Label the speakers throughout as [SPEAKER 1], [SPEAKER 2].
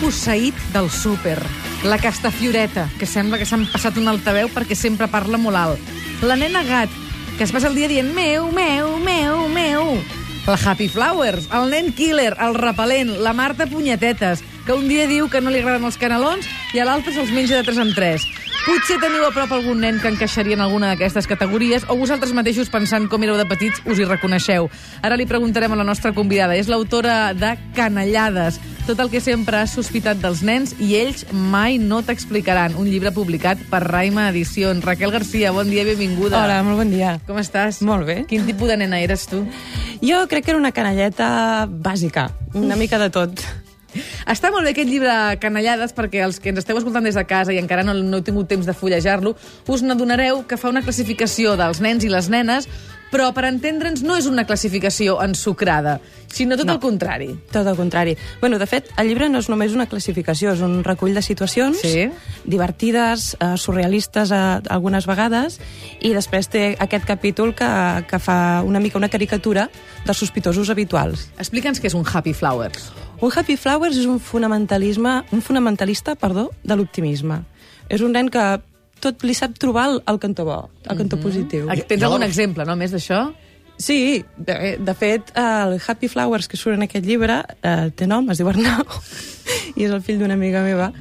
[SPEAKER 1] posseït del súper. La Castafioreta, que sembla que s'han passat un altaveu perquè sempre parla molt alt. La nena gat, que es passa el dia dient meu, meu, meu, meu. La Happy Flowers, el nen killer, el repel·lent, la Marta Punyetetes, que un dia diu que no li agraden els canelons i a l'altre se'ls menja de 3 en 3. Potser teniu a prop algun nen que encaixaria en alguna d'aquestes categories o vosaltres mateixos pensant com éreu de petits us hi reconeixeu. Ara li preguntarem a la nostra convidada. És l'autora de Canellades, tot el que sempre has sospitat dels nens i ells mai no t'explicaran. Un llibre publicat per Raima Edicions. Raquel Garcia, bon dia i benvinguda.
[SPEAKER 2] Hola, Ah, molt bon dia.
[SPEAKER 1] Com estàs?
[SPEAKER 2] Molt bé.
[SPEAKER 1] Quin tipus de nena eres tu?
[SPEAKER 2] Jo crec que era una canalleta bàsica, una mica de tot.
[SPEAKER 1] Està molt bé aquest llibre Canellades perquè els que ens esteu escoltant des de casa i encara no, no heu tingut temps de fullejar-lo, us n'adonareu que fa una classificació dels nens i les nenes, però per entendre'ns no és una classificació ensucrada, sinó tot
[SPEAKER 2] No.
[SPEAKER 1] el contrari.
[SPEAKER 2] Tot el contrari. Bueno, de fet, el llibre no és només una classificació, és un recull de situacions
[SPEAKER 1] Sí.
[SPEAKER 2] divertides, eh, surrealistes eh, algunes vegades, i després té aquest capítol que, que fa una mica una caricatura dels sospitosos habituals.
[SPEAKER 1] Explica'ns què és un Happy Flowers.
[SPEAKER 2] Un Happy Flowers és un fonamentalisme, un fonamentalista, perdó, de l'optimisme. És un nen que tot li sap trobar el, el cantó bo, el cantó positiu.
[SPEAKER 1] Tens algun exemple, no, a més d'això?
[SPEAKER 2] Sí, de, eh, de fet, el Happy Flowers que surt en aquest llibre eh, té nom, es diu Arnau, i és el fill d'una amiga meva,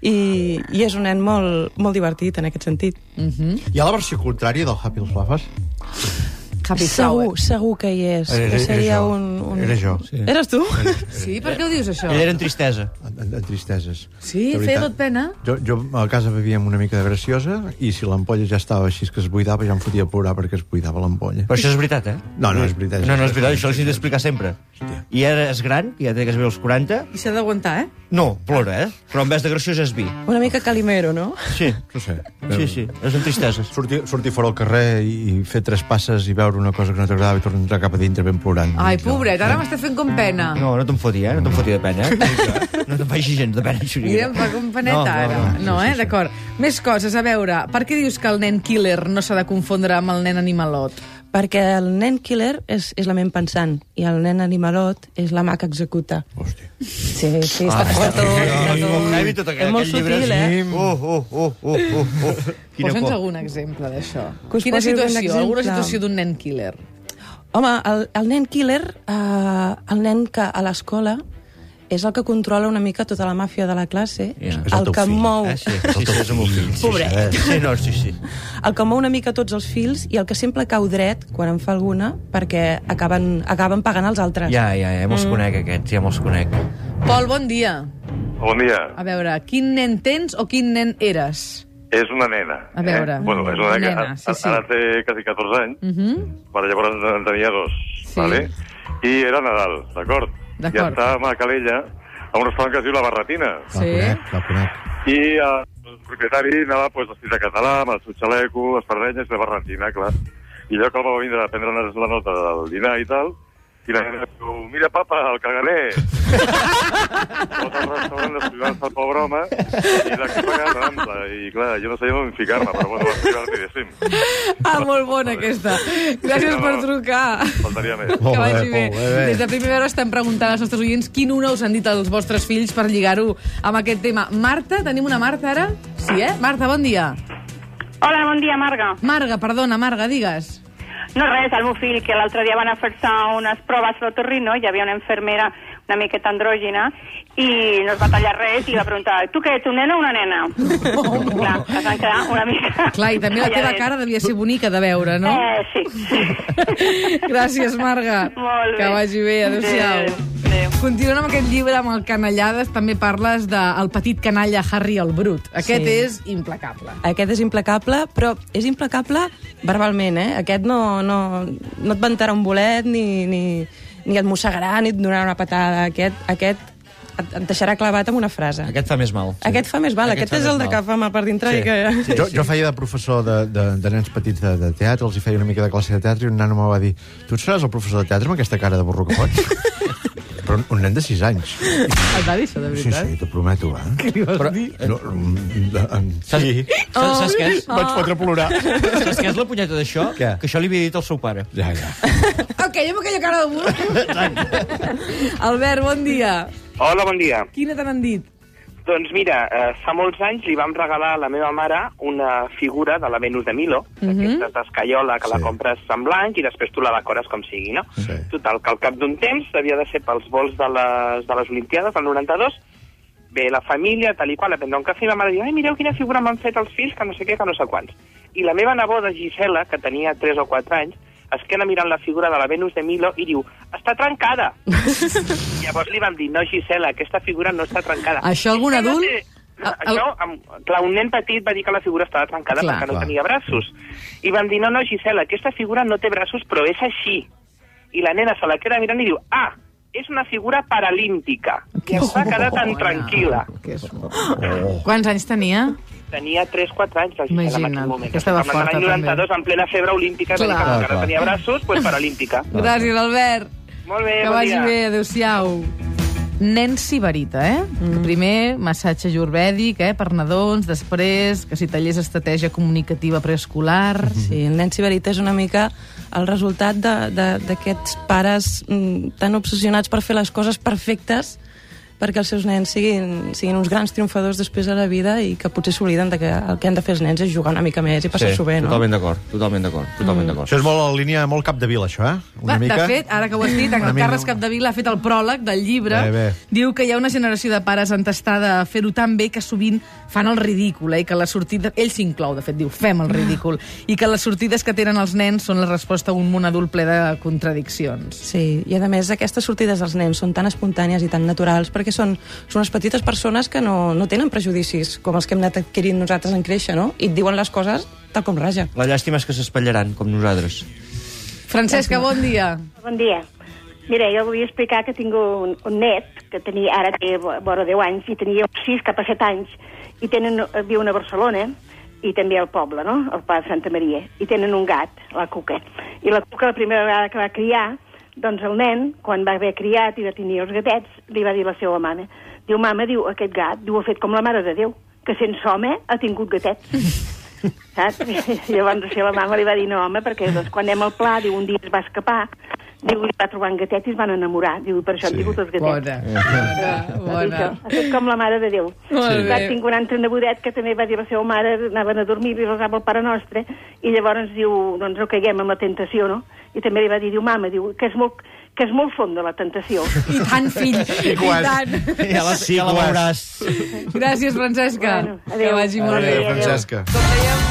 [SPEAKER 2] i, i és un nen molt, molt divertit en aquest sentit.
[SPEAKER 3] Hi ha la versió contrària del Happy Flowers?
[SPEAKER 1] Happy
[SPEAKER 2] Segur,
[SPEAKER 1] Flowers.
[SPEAKER 2] segur que hi és.
[SPEAKER 3] Era-
[SPEAKER 2] que
[SPEAKER 3] era
[SPEAKER 2] seria
[SPEAKER 3] jo.
[SPEAKER 2] un, un...
[SPEAKER 3] Era jo.
[SPEAKER 2] Sí. Eres tu?
[SPEAKER 1] Sí, per què ho dius, això?
[SPEAKER 4] Ell era en tristesa.
[SPEAKER 3] En, en, en tristeses.
[SPEAKER 1] Sí,
[SPEAKER 3] De
[SPEAKER 1] feia
[SPEAKER 3] veritat.
[SPEAKER 1] tot pena.
[SPEAKER 3] Jo, jo a casa bevia amb una mica de graciosa i si l'ampolla ja estava així que es buidava, ja em fotia a plorar perquè es buidava l'ampolla.
[SPEAKER 4] Però això és veritat, eh?
[SPEAKER 3] No, no és veritat.
[SPEAKER 4] No, no és veritat, això l'he d'explicar sempre.
[SPEAKER 3] Hòstia.
[SPEAKER 4] I ara és gran, que ja té que es veu els 40.
[SPEAKER 1] I s'ha d'aguantar, eh?
[SPEAKER 4] No, plora, eh? Però en vez de graciós és vi.
[SPEAKER 2] Una mica Calimero, no?
[SPEAKER 4] Sí,
[SPEAKER 3] No sé.
[SPEAKER 4] sí, sí, és en tristeses.
[SPEAKER 3] Sortir, sortir fora al carrer i, i fer tres passes i veure una cosa que no t'agradava i tornar a entrar cap a dintre ben plorant.
[SPEAKER 1] Ai, pobret, ara m'està fent com pena.
[SPEAKER 4] No, no te'n foti, eh? No te'n foti de pena, eh? No te'n faci gens de pena,
[SPEAKER 1] Mira,
[SPEAKER 4] Xurina.
[SPEAKER 1] em fa com peneta, ara. No, eh? D'acord. Més coses, a veure. Per què dius que el nen killer no s'ha de confondre amb el nen animalot?
[SPEAKER 2] Perquè el nen killer és, és la ment pensant i el nen animalot és la mà que executa.
[SPEAKER 3] Hòstia.
[SPEAKER 2] Sí, sí,
[SPEAKER 3] Ah,
[SPEAKER 2] està fort.
[SPEAKER 4] Tot, tot, heavy, tot
[SPEAKER 2] És
[SPEAKER 4] aquell,
[SPEAKER 2] molt
[SPEAKER 4] aquell llibre.
[SPEAKER 2] sutil, eh?
[SPEAKER 4] Sí. Oh, oh, oh, oh, oh, oh. Quina
[SPEAKER 1] Posa'ns
[SPEAKER 4] por.
[SPEAKER 1] algun exemple d'això.
[SPEAKER 2] Que us
[SPEAKER 1] Quina
[SPEAKER 2] posi algun
[SPEAKER 1] situació? Alguna
[SPEAKER 2] exemple.
[SPEAKER 1] situació d'un nen killer?
[SPEAKER 2] Home, el, el nen killer, eh, el nen que a l'escola és el que controla una mica tota la màfia de la classe,
[SPEAKER 4] Ja.
[SPEAKER 3] És el
[SPEAKER 2] el,
[SPEAKER 3] teu
[SPEAKER 2] que
[SPEAKER 3] fill,
[SPEAKER 2] mou,
[SPEAKER 4] Eh, sí, sí, sí, és un bon fill.
[SPEAKER 2] Pobret.
[SPEAKER 4] Sí, no, sí, sí.
[SPEAKER 2] el que mou una mica tots els fils i el que sempre cau dret quan en fa alguna perquè acaben, acaben pagant els altres.
[SPEAKER 4] Ja, ja, ja
[SPEAKER 2] Mm.
[SPEAKER 4] me'ls conec, aquests, ja me'ls conec.
[SPEAKER 1] Pol, bon dia.
[SPEAKER 5] Bon dia.
[SPEAKER 1] A veure, quin nen tens o quin nen eres?
[SPEAKER 5] És una nena.
[SPEAKER 1] A veure.
[SPEAKER 5] Eh? Bueno, és una nena,
[SPEAKER 1] Nena, sí, sí.
[SPEAKER 5] Ara té quasi 14 anys, mm
[SPEAKER 1] Mhm.
[SPEAKER 5] -hmm. però llavors en tenia dos,
[SPEAKER 1] Sí.
[SPEAKER 5] vale? I era Nadal, d'acord? I
[SPEAKER 1] D'acord.
[SPEAKER 5] estàvem a Calella, a un restaurant que es diu La Barretina.
[SPEAKER 3] La conec, la conec.
[SPEAKER 5] I eh, el propietari anava pues, vestit de català, amb el seu xaleco, les perdenyes i la barretina, clar. I allò que el va vindre a prendre la nota del dinar i tal, i la nena diu, mira, papa, el caganer! Tot el restaurant desfillant el pobre home i la cagada ampla. I clar, jo no sabia on ficar-me, però bueno, va ficar diguéssim.
[SPEAKER 1] Ah, molt bona aquesta. Gràcies
[SPEAKER 5] Sí, no,
[SPEAKER 1] per
[SPEAKER 5] no.
[SPEAKER 1] trucar.
[SPEAKER 5] Faltaria més.
[SPEAKER 1] Que
[SPEAKER 3] Molt bé,
[SPEAKER 1] vagi bé.
[SPEAKER 3] molt bé.
[SPEAKER 1] Des de primera hora estem preguntant als nostres oients quin una us han dit els vostres fills per lligar-ho amb aquest tema. Marta, tenim una Marta ara? Sí, eh? Marta, bon dia.
[SPEAKER 6] Hola, bon dia, Marga.
[SPEAKER 1] Marga, perdona, Marga, digues.
[SPEAKER 6] No res, el meu fill, que l'altre dia van a fer-se unes proves a l'otorrino, hi havia una infermera una miqueta andrògina, i no es va tallar res, i li va preguntar, tu què ets, un nen o una nena? Clar, es van quedar una mica...
[SPEAKER 1] Clar, i també la teva
[SPEAKER 6] calladets.
[SPEAKER 1] cara devia ser bonica de veure, no?
[SPEAKER 6] Eh, sí.
[SPEAKER 1] Gràcies, Marga.
[SPEAKER 6] Molt bé.
[SPEAKER 1] Que vagi bé, adéu-siau.
[SPEAKER 6] Adéu, adéu.
[SPEAKER 1] Continuant amb aquest llibre, amb el Canellades, també parles del petit canalla Harry el Brut. Aquest
[SPEAKER 2] Sí.
[SPEAKER 1] és implacable.
[SPEAKER 2] Aquest és implacable, però és implacable verbalment, eh? Aquest no, no, no et ventarà un bolet, ni, ni, ni et mossegarà, ni et donarà una patada. Aquest, aquest et, et deixarà clavat amb una frase.
[SPEAKER 4] Aquest fa més mal.
[SPEAKER 2] Sí. Aquest fa més mal, aquest,
[SPEAKER 4] fa
[SPEAKER 2] aquest és
[SPEAKER 4] més
[SPEAKER 2] el de
[SPEAKER 4] mal.
[SPEAKER 2] que fa mal per dintre sí. i que...
[SPEAKER 3] Sí, jo, jo feia de professor de, de, de nens petits de, de teatre, els hi feia una mica de classe de teatre i un nano me va dir tu et seràs el professor de teatre amb aquesta cara de burro que fots? Però un, un nen de 6 anys.
[SPEAKER 1] Et va dir això, de
[SPEAKER 3] Sí,
[SPEAKER 1] veritat?
[SPEAKER 3] sí, t'ho prometo, eh? Què li vas Però, dir? No, mm, de- em- sí. Oh.
[SPEAKER 4] Saps, saps què és?
[SPEAKER 3] Vaig fotre a plorar.
[SPEAKER 4] Saps què és la punyeta d'això?
[SPEAKER 3] Què?
[SPEAKER 4] Que això li havia dit al seu pare.
[SPEAKER 3] Ja, ja.
[SPEAKER 1] Ok, jo amb aquella cara de burro. Albert, bon dia.
[SPEAKER 7] Hola, bon dia.
[SPEAKER 1] Quina te n'han dit?
[SPEAKER 7] Doncs mira, eh, fa molts anys li vam regalar a la meva mare una figura de la Venus de Milo, mm -hmm. d'aquestes d'escaiola que sí. la
[SPEAKER 3] Sí.
[SPEAKER 7] compres en blanc i després tu la decores com sigui, no?
[SPEAKER 3] Sí.
[SPEAKER 7] Total, que al cap d'un temps havia de ser pels vols de les, de les Olimpiades del 92, ve la família, tal i qual, a prendre un cafè, i ma mare diu, ai, mireu quina figura m'han fet els fills, que no sé què, que no sé quants. I la meva neboda, Gisela, que tenia 3 o 4 anys, es queda mirant la figura de la Venus de Milo i diu, està trencada! Llavors li vam dir, no, Gisela, aquesta figura no està trencada.
[SPEAKER 1] Això algun
[SPEAKER 7] Gisela
[SPEAKER 1] adult-
[SPEAKER 7] té-
[SPEAKER 1] A- a-
[SPEAKER 7] Això, amb... clar, un nen petit va dir que la figura estava trencada
[SPEAKER 1] Clar.
[SPEAKER 7] perquè no
[SPEAKER 3] Clar.
[SPEAKER 7] tenia braços. I van dir, no, no, Gisela, aquesta figura no té braços, però és així. I la nena se la queda mirant i diu, ah, és una figura paralímpica. I es va quedar tan
[SPEAKER 1] bona.
[SPEAKER 7] tranquil·la.
[SPEAKER 1] Que és... Quants anys tenia?
[SPEAKER 7] Tenia 3-4 anys la Gisela en
[SPEAKER 1] Imagina't,
[SPEAKER 7] aquell moment.
[SPEAKER 1] que estava
[SPEAKER 7] Estem parlant de
[SPEAKER 1] forta,
[SPEAKER 7] l'any 92, en plena febre olímpica,
[SPEAKER 1] Clar.
[SPEAKER 7] clar, que
[SPEAKER 3] Clar,
[SPEAKER 7] encara
[SPEAKER 3] clar.
[SPEAKER 7] tenia braços, doncs paralímpica.
[SPEAKER 1] Gràcies, Albert.
[SPEAKER 7] Molt bé,
[SPEAKER 1] Que
[SPEAKER 7] Eh, bon
[SPEAKER 1] vagi
[SPEAKER 7] dia.
[SPEAKER 1] bé, adeu-siau. Nen sibarita, eh? Mm. Primer, massatge jurvèdic, eh? Per nadons, després, que si tallers estratègia comunicativa preescolar...
[SPEAKER 3] Mm-hmm.
[SPEAKER 2] Sí, el nen siberita és una mica el resultat de- de- d'aquests pares mm, tan obsessionats per fer les coses perfectes perquè els seus nens siguin, siguin uns grans triomfadors després de la vida i que potser s'obliden de que el que han de fer els nens és jugar una mica més i passar-s'ho bé, no?
[SPEAKER 4] Totalment d'acord, totalment d'acord, totalment d'acord.
[SPEAKER 3] Això és molt en línia, molt cap de vila, això, eh? Una
[SPEAKER 1] Va,
[SPEAKER 3] mica.
[SPEAKER 1] De fet, ara que ho has dit, en
[SPEAKER 3] Una
[SPEAKER 1] el
[SPEAKER 3] mica.
[SPEAKER 1] Carles Capdevila ha fet el pròleg del llibre.
[SPEAKER 3] Bé, bé.
[SPEAKER 1] Diu que hi ha una generació de pares entestada a fer-ho tan bé que sovint fan el ridícul, eh? i que la sortida... Ell s'inclou, de fet, diu, fem el ridícul. I que les sortides que tenen els nens són la resposta a un món adult ple de contradiccions.
[SPEAKER 2] Sí, i a més aquestes sortides als nens són tan espontànies i tan naturals perquè són, són unes petites persones que no, no tenen prejudicis com els que hem anat adquirint nosaltres en créixer, no? I et diuen les coses tal com raja.
[SPEAKER 4] La llàstima és que s'espatllaran, com nosaltres.
[SPEAKER 1] Francesca, bon dia.
[SPEAKER 8] Bon dia. Mira, jo volia explicar que tinc un, un net que tenia, ara té vo- vora 10 anys i tenia 6 cap a 7 anys i tenen, viuen a Barcelona i també al poble, no? al Pla de Santa Maria. I tenen un gat, la Cuca. I la Cuca, la primera vegada que va criar, doncs el nen, quan va haver criat i va tenir els gatets, li va dir a la seva mama, diu, mama, diu, aquest gat, diu, ha fet com la Mare de Déu, que sense home ha tingut gatets. saps? I llavors la seva mama li va dir no, home, perquè doncs, quan anem al pla, diu, un dia es va escapar, diu, li va trobar un gatet i es van enamorar. Diu, per això sí. han tingut els gatets. Ah,
[SPEAKER 1] Bona. Bona. Bona.
[SPEAKER 8] Ha fet com la mare de Déu.
[SPEAKER 1] Molt
[SPEAKER 8] Va,
[SPEAKER 1] bé.
[SPEAKER 8] tinc un altre nebodet que també va dir a la seva mare, anaven a dormir, li resava el Pare Nostre, i llavors diu, doncs no caiguem amb la tentació, no? I també li va dir, diu, mama, diu, que és molt, que és molt fonda la tentació.
[SPEAKER 1] I tant, fill. I,
[SPEAKER 3] quan-
[SPEAKER 1] tant.
[SPEAKER 4] Ja la, sí, ja la veuràs.
[SPEAKER 1] Gràcies, Francesca.
[SPEAKER 8] Bueno,
[SPEAKER 1] que
[SPEAKER 8] adéu.
[SPEAKER 1] vagi molt
[SPEAKER 3] Adéu,
[SPEAKER 1] bé.
[SPEAKER 3] Francesca.
[SPEAKER 1] Com dèiem,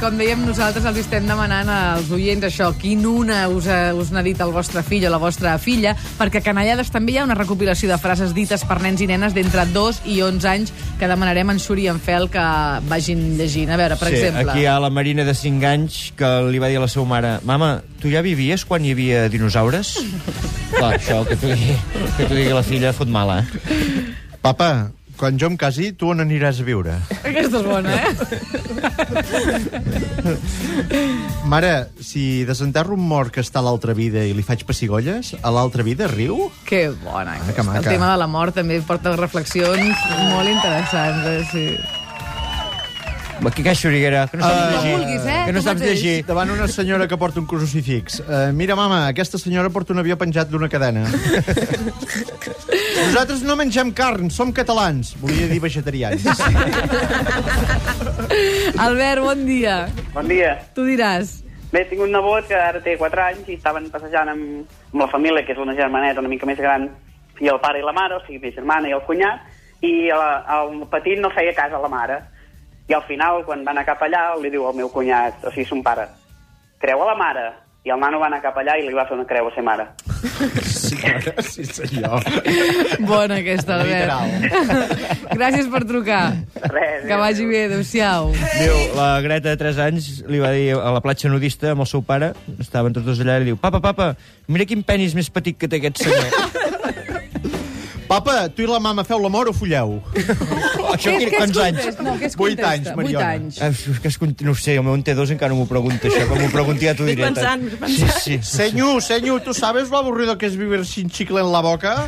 [SPEAKER 1] com dèiem, nosaltres els estem demanant als oients això, quin una us, ha- us n'ha dit el vostre fill o la vostra filla, perquè a Canallades també hi ha una recopilació de frases dites per nens i nenes d'entre 2 i 11 anys que demanarem a en Xuri i en Fel que vagin llegint. A veure, per
[SPEAKER 4] sí,
[SPEAKER 1] exemple...
[SPEAKER 4] Aquí hi ha la Marina de 5 anys que li va dir a la seva mare Mama, tu ja vivies quan hi havia dinosaures? Clar, això que t'ho digui, que t'ho digui la filla fot mala, eh?
[SPEAKER 3] Papa, quan jo em casi, tu on aniràs a viure?
[SPEAKER 1] Aquesta és bona, eh?
[SPEAKER 3] Mare, si desenterro un mort que està a l'altra vida i li faig pessigolles, a l'altra vida riu?
[SPEAKER 1] Que bona.
[SPEAKER 3] Ah, que
[SPEAKER 1] aquesta. El
[SPEAKER 3] maca.
[SPEAKER 1] tema de la mort també porta reflexions molt interessants. Eh? Sí.
[SPEAKER 4] Aquí que xuriguera, que no saps
[SPEAKER 3] Ah,
[SPEAKER 4] llegir.
[SPEAKER 1] no vulguis, eh,
[SPEAKER 4] Que no
[SPEAKER 1] tu
[SPEAKER 4] saps
[SPEAKER 1] mateix.
[SPEAKER 4] llegir.
[SPEAKER 3] Davant una senyora que porta un crucifix. Uh, mira, mama, aquesta senyora porta un avió penjat d'una cadena. Nosaltres no mengem carn, som catalans. Volia dir vegetarians.
[SPEAKER 1] Albert, bon dia.
[SPEAKER 9] Bon dia.
[SPEAKER 1] Tu diràs.
[SPEAKER 9] Bé, tinc un nebot que ara té 4 anys i estaven passejant amb, amb la família, que és una germaneta una mica més gran, i el pare i la mare, o sigui, mi germana i el cunyat, i el, el petit no feia cas a la mare. I al final, quan va anar cap allà, li diu al meu cunyat, o sigui, son pare, creu a la mare. I el nano va anar cap allà i li va fer una creu a ser mare.
[SPEAKER 3] sí, mare, sí, senyor.
[SPEAKER 1] Bona aquesta, Albert.
[SPEAKER 3] Literal.
[SPEAKER 1] Gràcies per trucar.
[SPEAKER 9] Res,
[SPEAKER 1] Que vagi bé, adéu-siau.
[SPEAKER 4] Diu, la Greta de 3 anys li va dir a la platja nudista amb el seu pare, estaven tots dos allà, i li diu, papa, papa, mira quin penis més petit que té aquest senyor.
[SPEAKER 3] Papa, tu i la mama feu l'amor o folleu?
[SPEAKER 4] això
[SPEAKER 1] Què-
[SPEAKER 4] que,
[SPEAKER 1] què es
[SPEAKER 4] quants anys?
[SPEAKER 1] contesta? No, què es
[SPEAKER 3] Vuit
[SPEAKER 1] contesta?
[SPEAKER 3] anys, Mariona.
[SPEAKER 1] Vuit anys.
[SPEAKER 4] Ah, que es, cont- no ho sé, el meu en té dos encara no m'ho pregunta, això. Quan m'ho pregunti ja t'ho
[SPEAKER 2] Estic
[SPEAKER 4] diré.
[SPEAKER 2] pensant, estic pensant.
[SPEAKER 4] Sí, sí.
[SPEAKER 3] Senyor, senyor, tu sabes lo aburrido que es vivir sin chicle en la boca?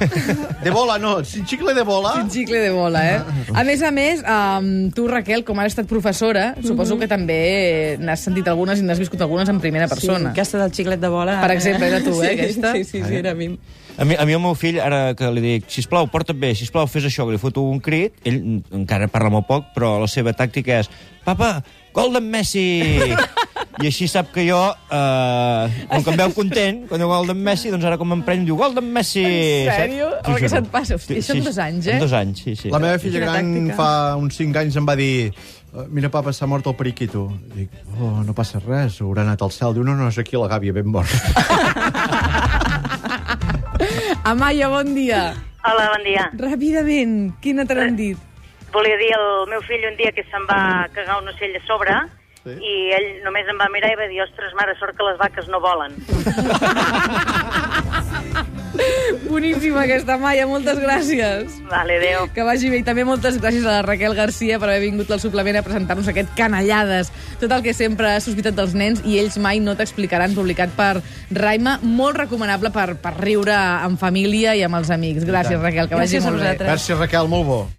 [SPEAKER 3] De bola, no, sin chicle de bola.
[SPEAKER 1] Un xicle de bola, eh? A més a més, um, tu, Raquel, com ara has estat professora, suposo que també n'has sentit algunes i n'has viscut algunes en primera persona.
[SPEAKER 2] Sí, aquesta del xiclet de bola...
[SPEAKER 1] Per exemple, era tu, eh,
[SPEAKER 2] sí,
[SPEAKER 1] aquesta?
[SPEAKER 2] Sí, sí, sí, era a mi.
[SPEAKER 4] A mi, a mi el meu fill, ara que li dic, sisplau, porta't bé, sisplau, fes això, que li foto un crit, ell mm, encara parla molt poc, però la seva tàctica és, papa, gol d'en Messi! I així sap que jo, eh, com que em veu content, quan diu gol d'en Messi, doncs ara com em pren, diu gol d'en Messi!
[SPEAKER 1] En sèrio?
[SPEAKER 4] Saps? T'ho
[SPEAKER 1] Home, què
[SPEAKER 4] juro.
[SPEAKER 1] se't passa? Hosti, això en dos anys, eh?
[SPEAKER 4] En dos anys, sí, sí.
[SPEAKER 3] La meva filla
[SPEAKER 2] Quina
[SPEAKER 3] gran
[SPEAKER 2] tàctica.
[SPEAKER 3] fa uns 5 anys em va dir "Eh, mira, papa, s'ha mort el periquito. Dic, oh, no passa res, haurà anat al cel. Diu, no, no, és aquí la gàbia, ben mort.
[SPEAKER 1] Amaya, bon dia.
[SPEAKER 10] Hola, bon dia.
[SPEAKER 1] Ràpidament, quina te n'han dit?
[SPEAKER 10] Volia dir al meu fill un dia que se'n va cagar un ocell a sobre
[SPEAKER 3] Sí.
[SPEAKER 10] sí. i ell només em va mirar i va dir ostres, mare, sort que les vaques no volen.
[SPEAKER 1] Boníssima aquesta, Amaya, moltes gràcies.
[SPEAKER 10] Vale, adéu.
[SPEAKER 1] Que vagi bé. I també moltes gràcies a la Raquel Garcia per haver vingut al suplement a presentar-nos aquest Canallades. Tot el que sempre has sospitat dels nens i ells mai no t'explicaran, publicat per Raima. Molt recomanable per, per riure en família i amb els amics. Gràcies, Raquel, que vagi
[SPEAKER 2] Gràcies a
[SPEAKER 1] molt bé.
[SPEAKER 2] vosaltres.
[SPEAKER 3] Merci, Raquel, molt bo.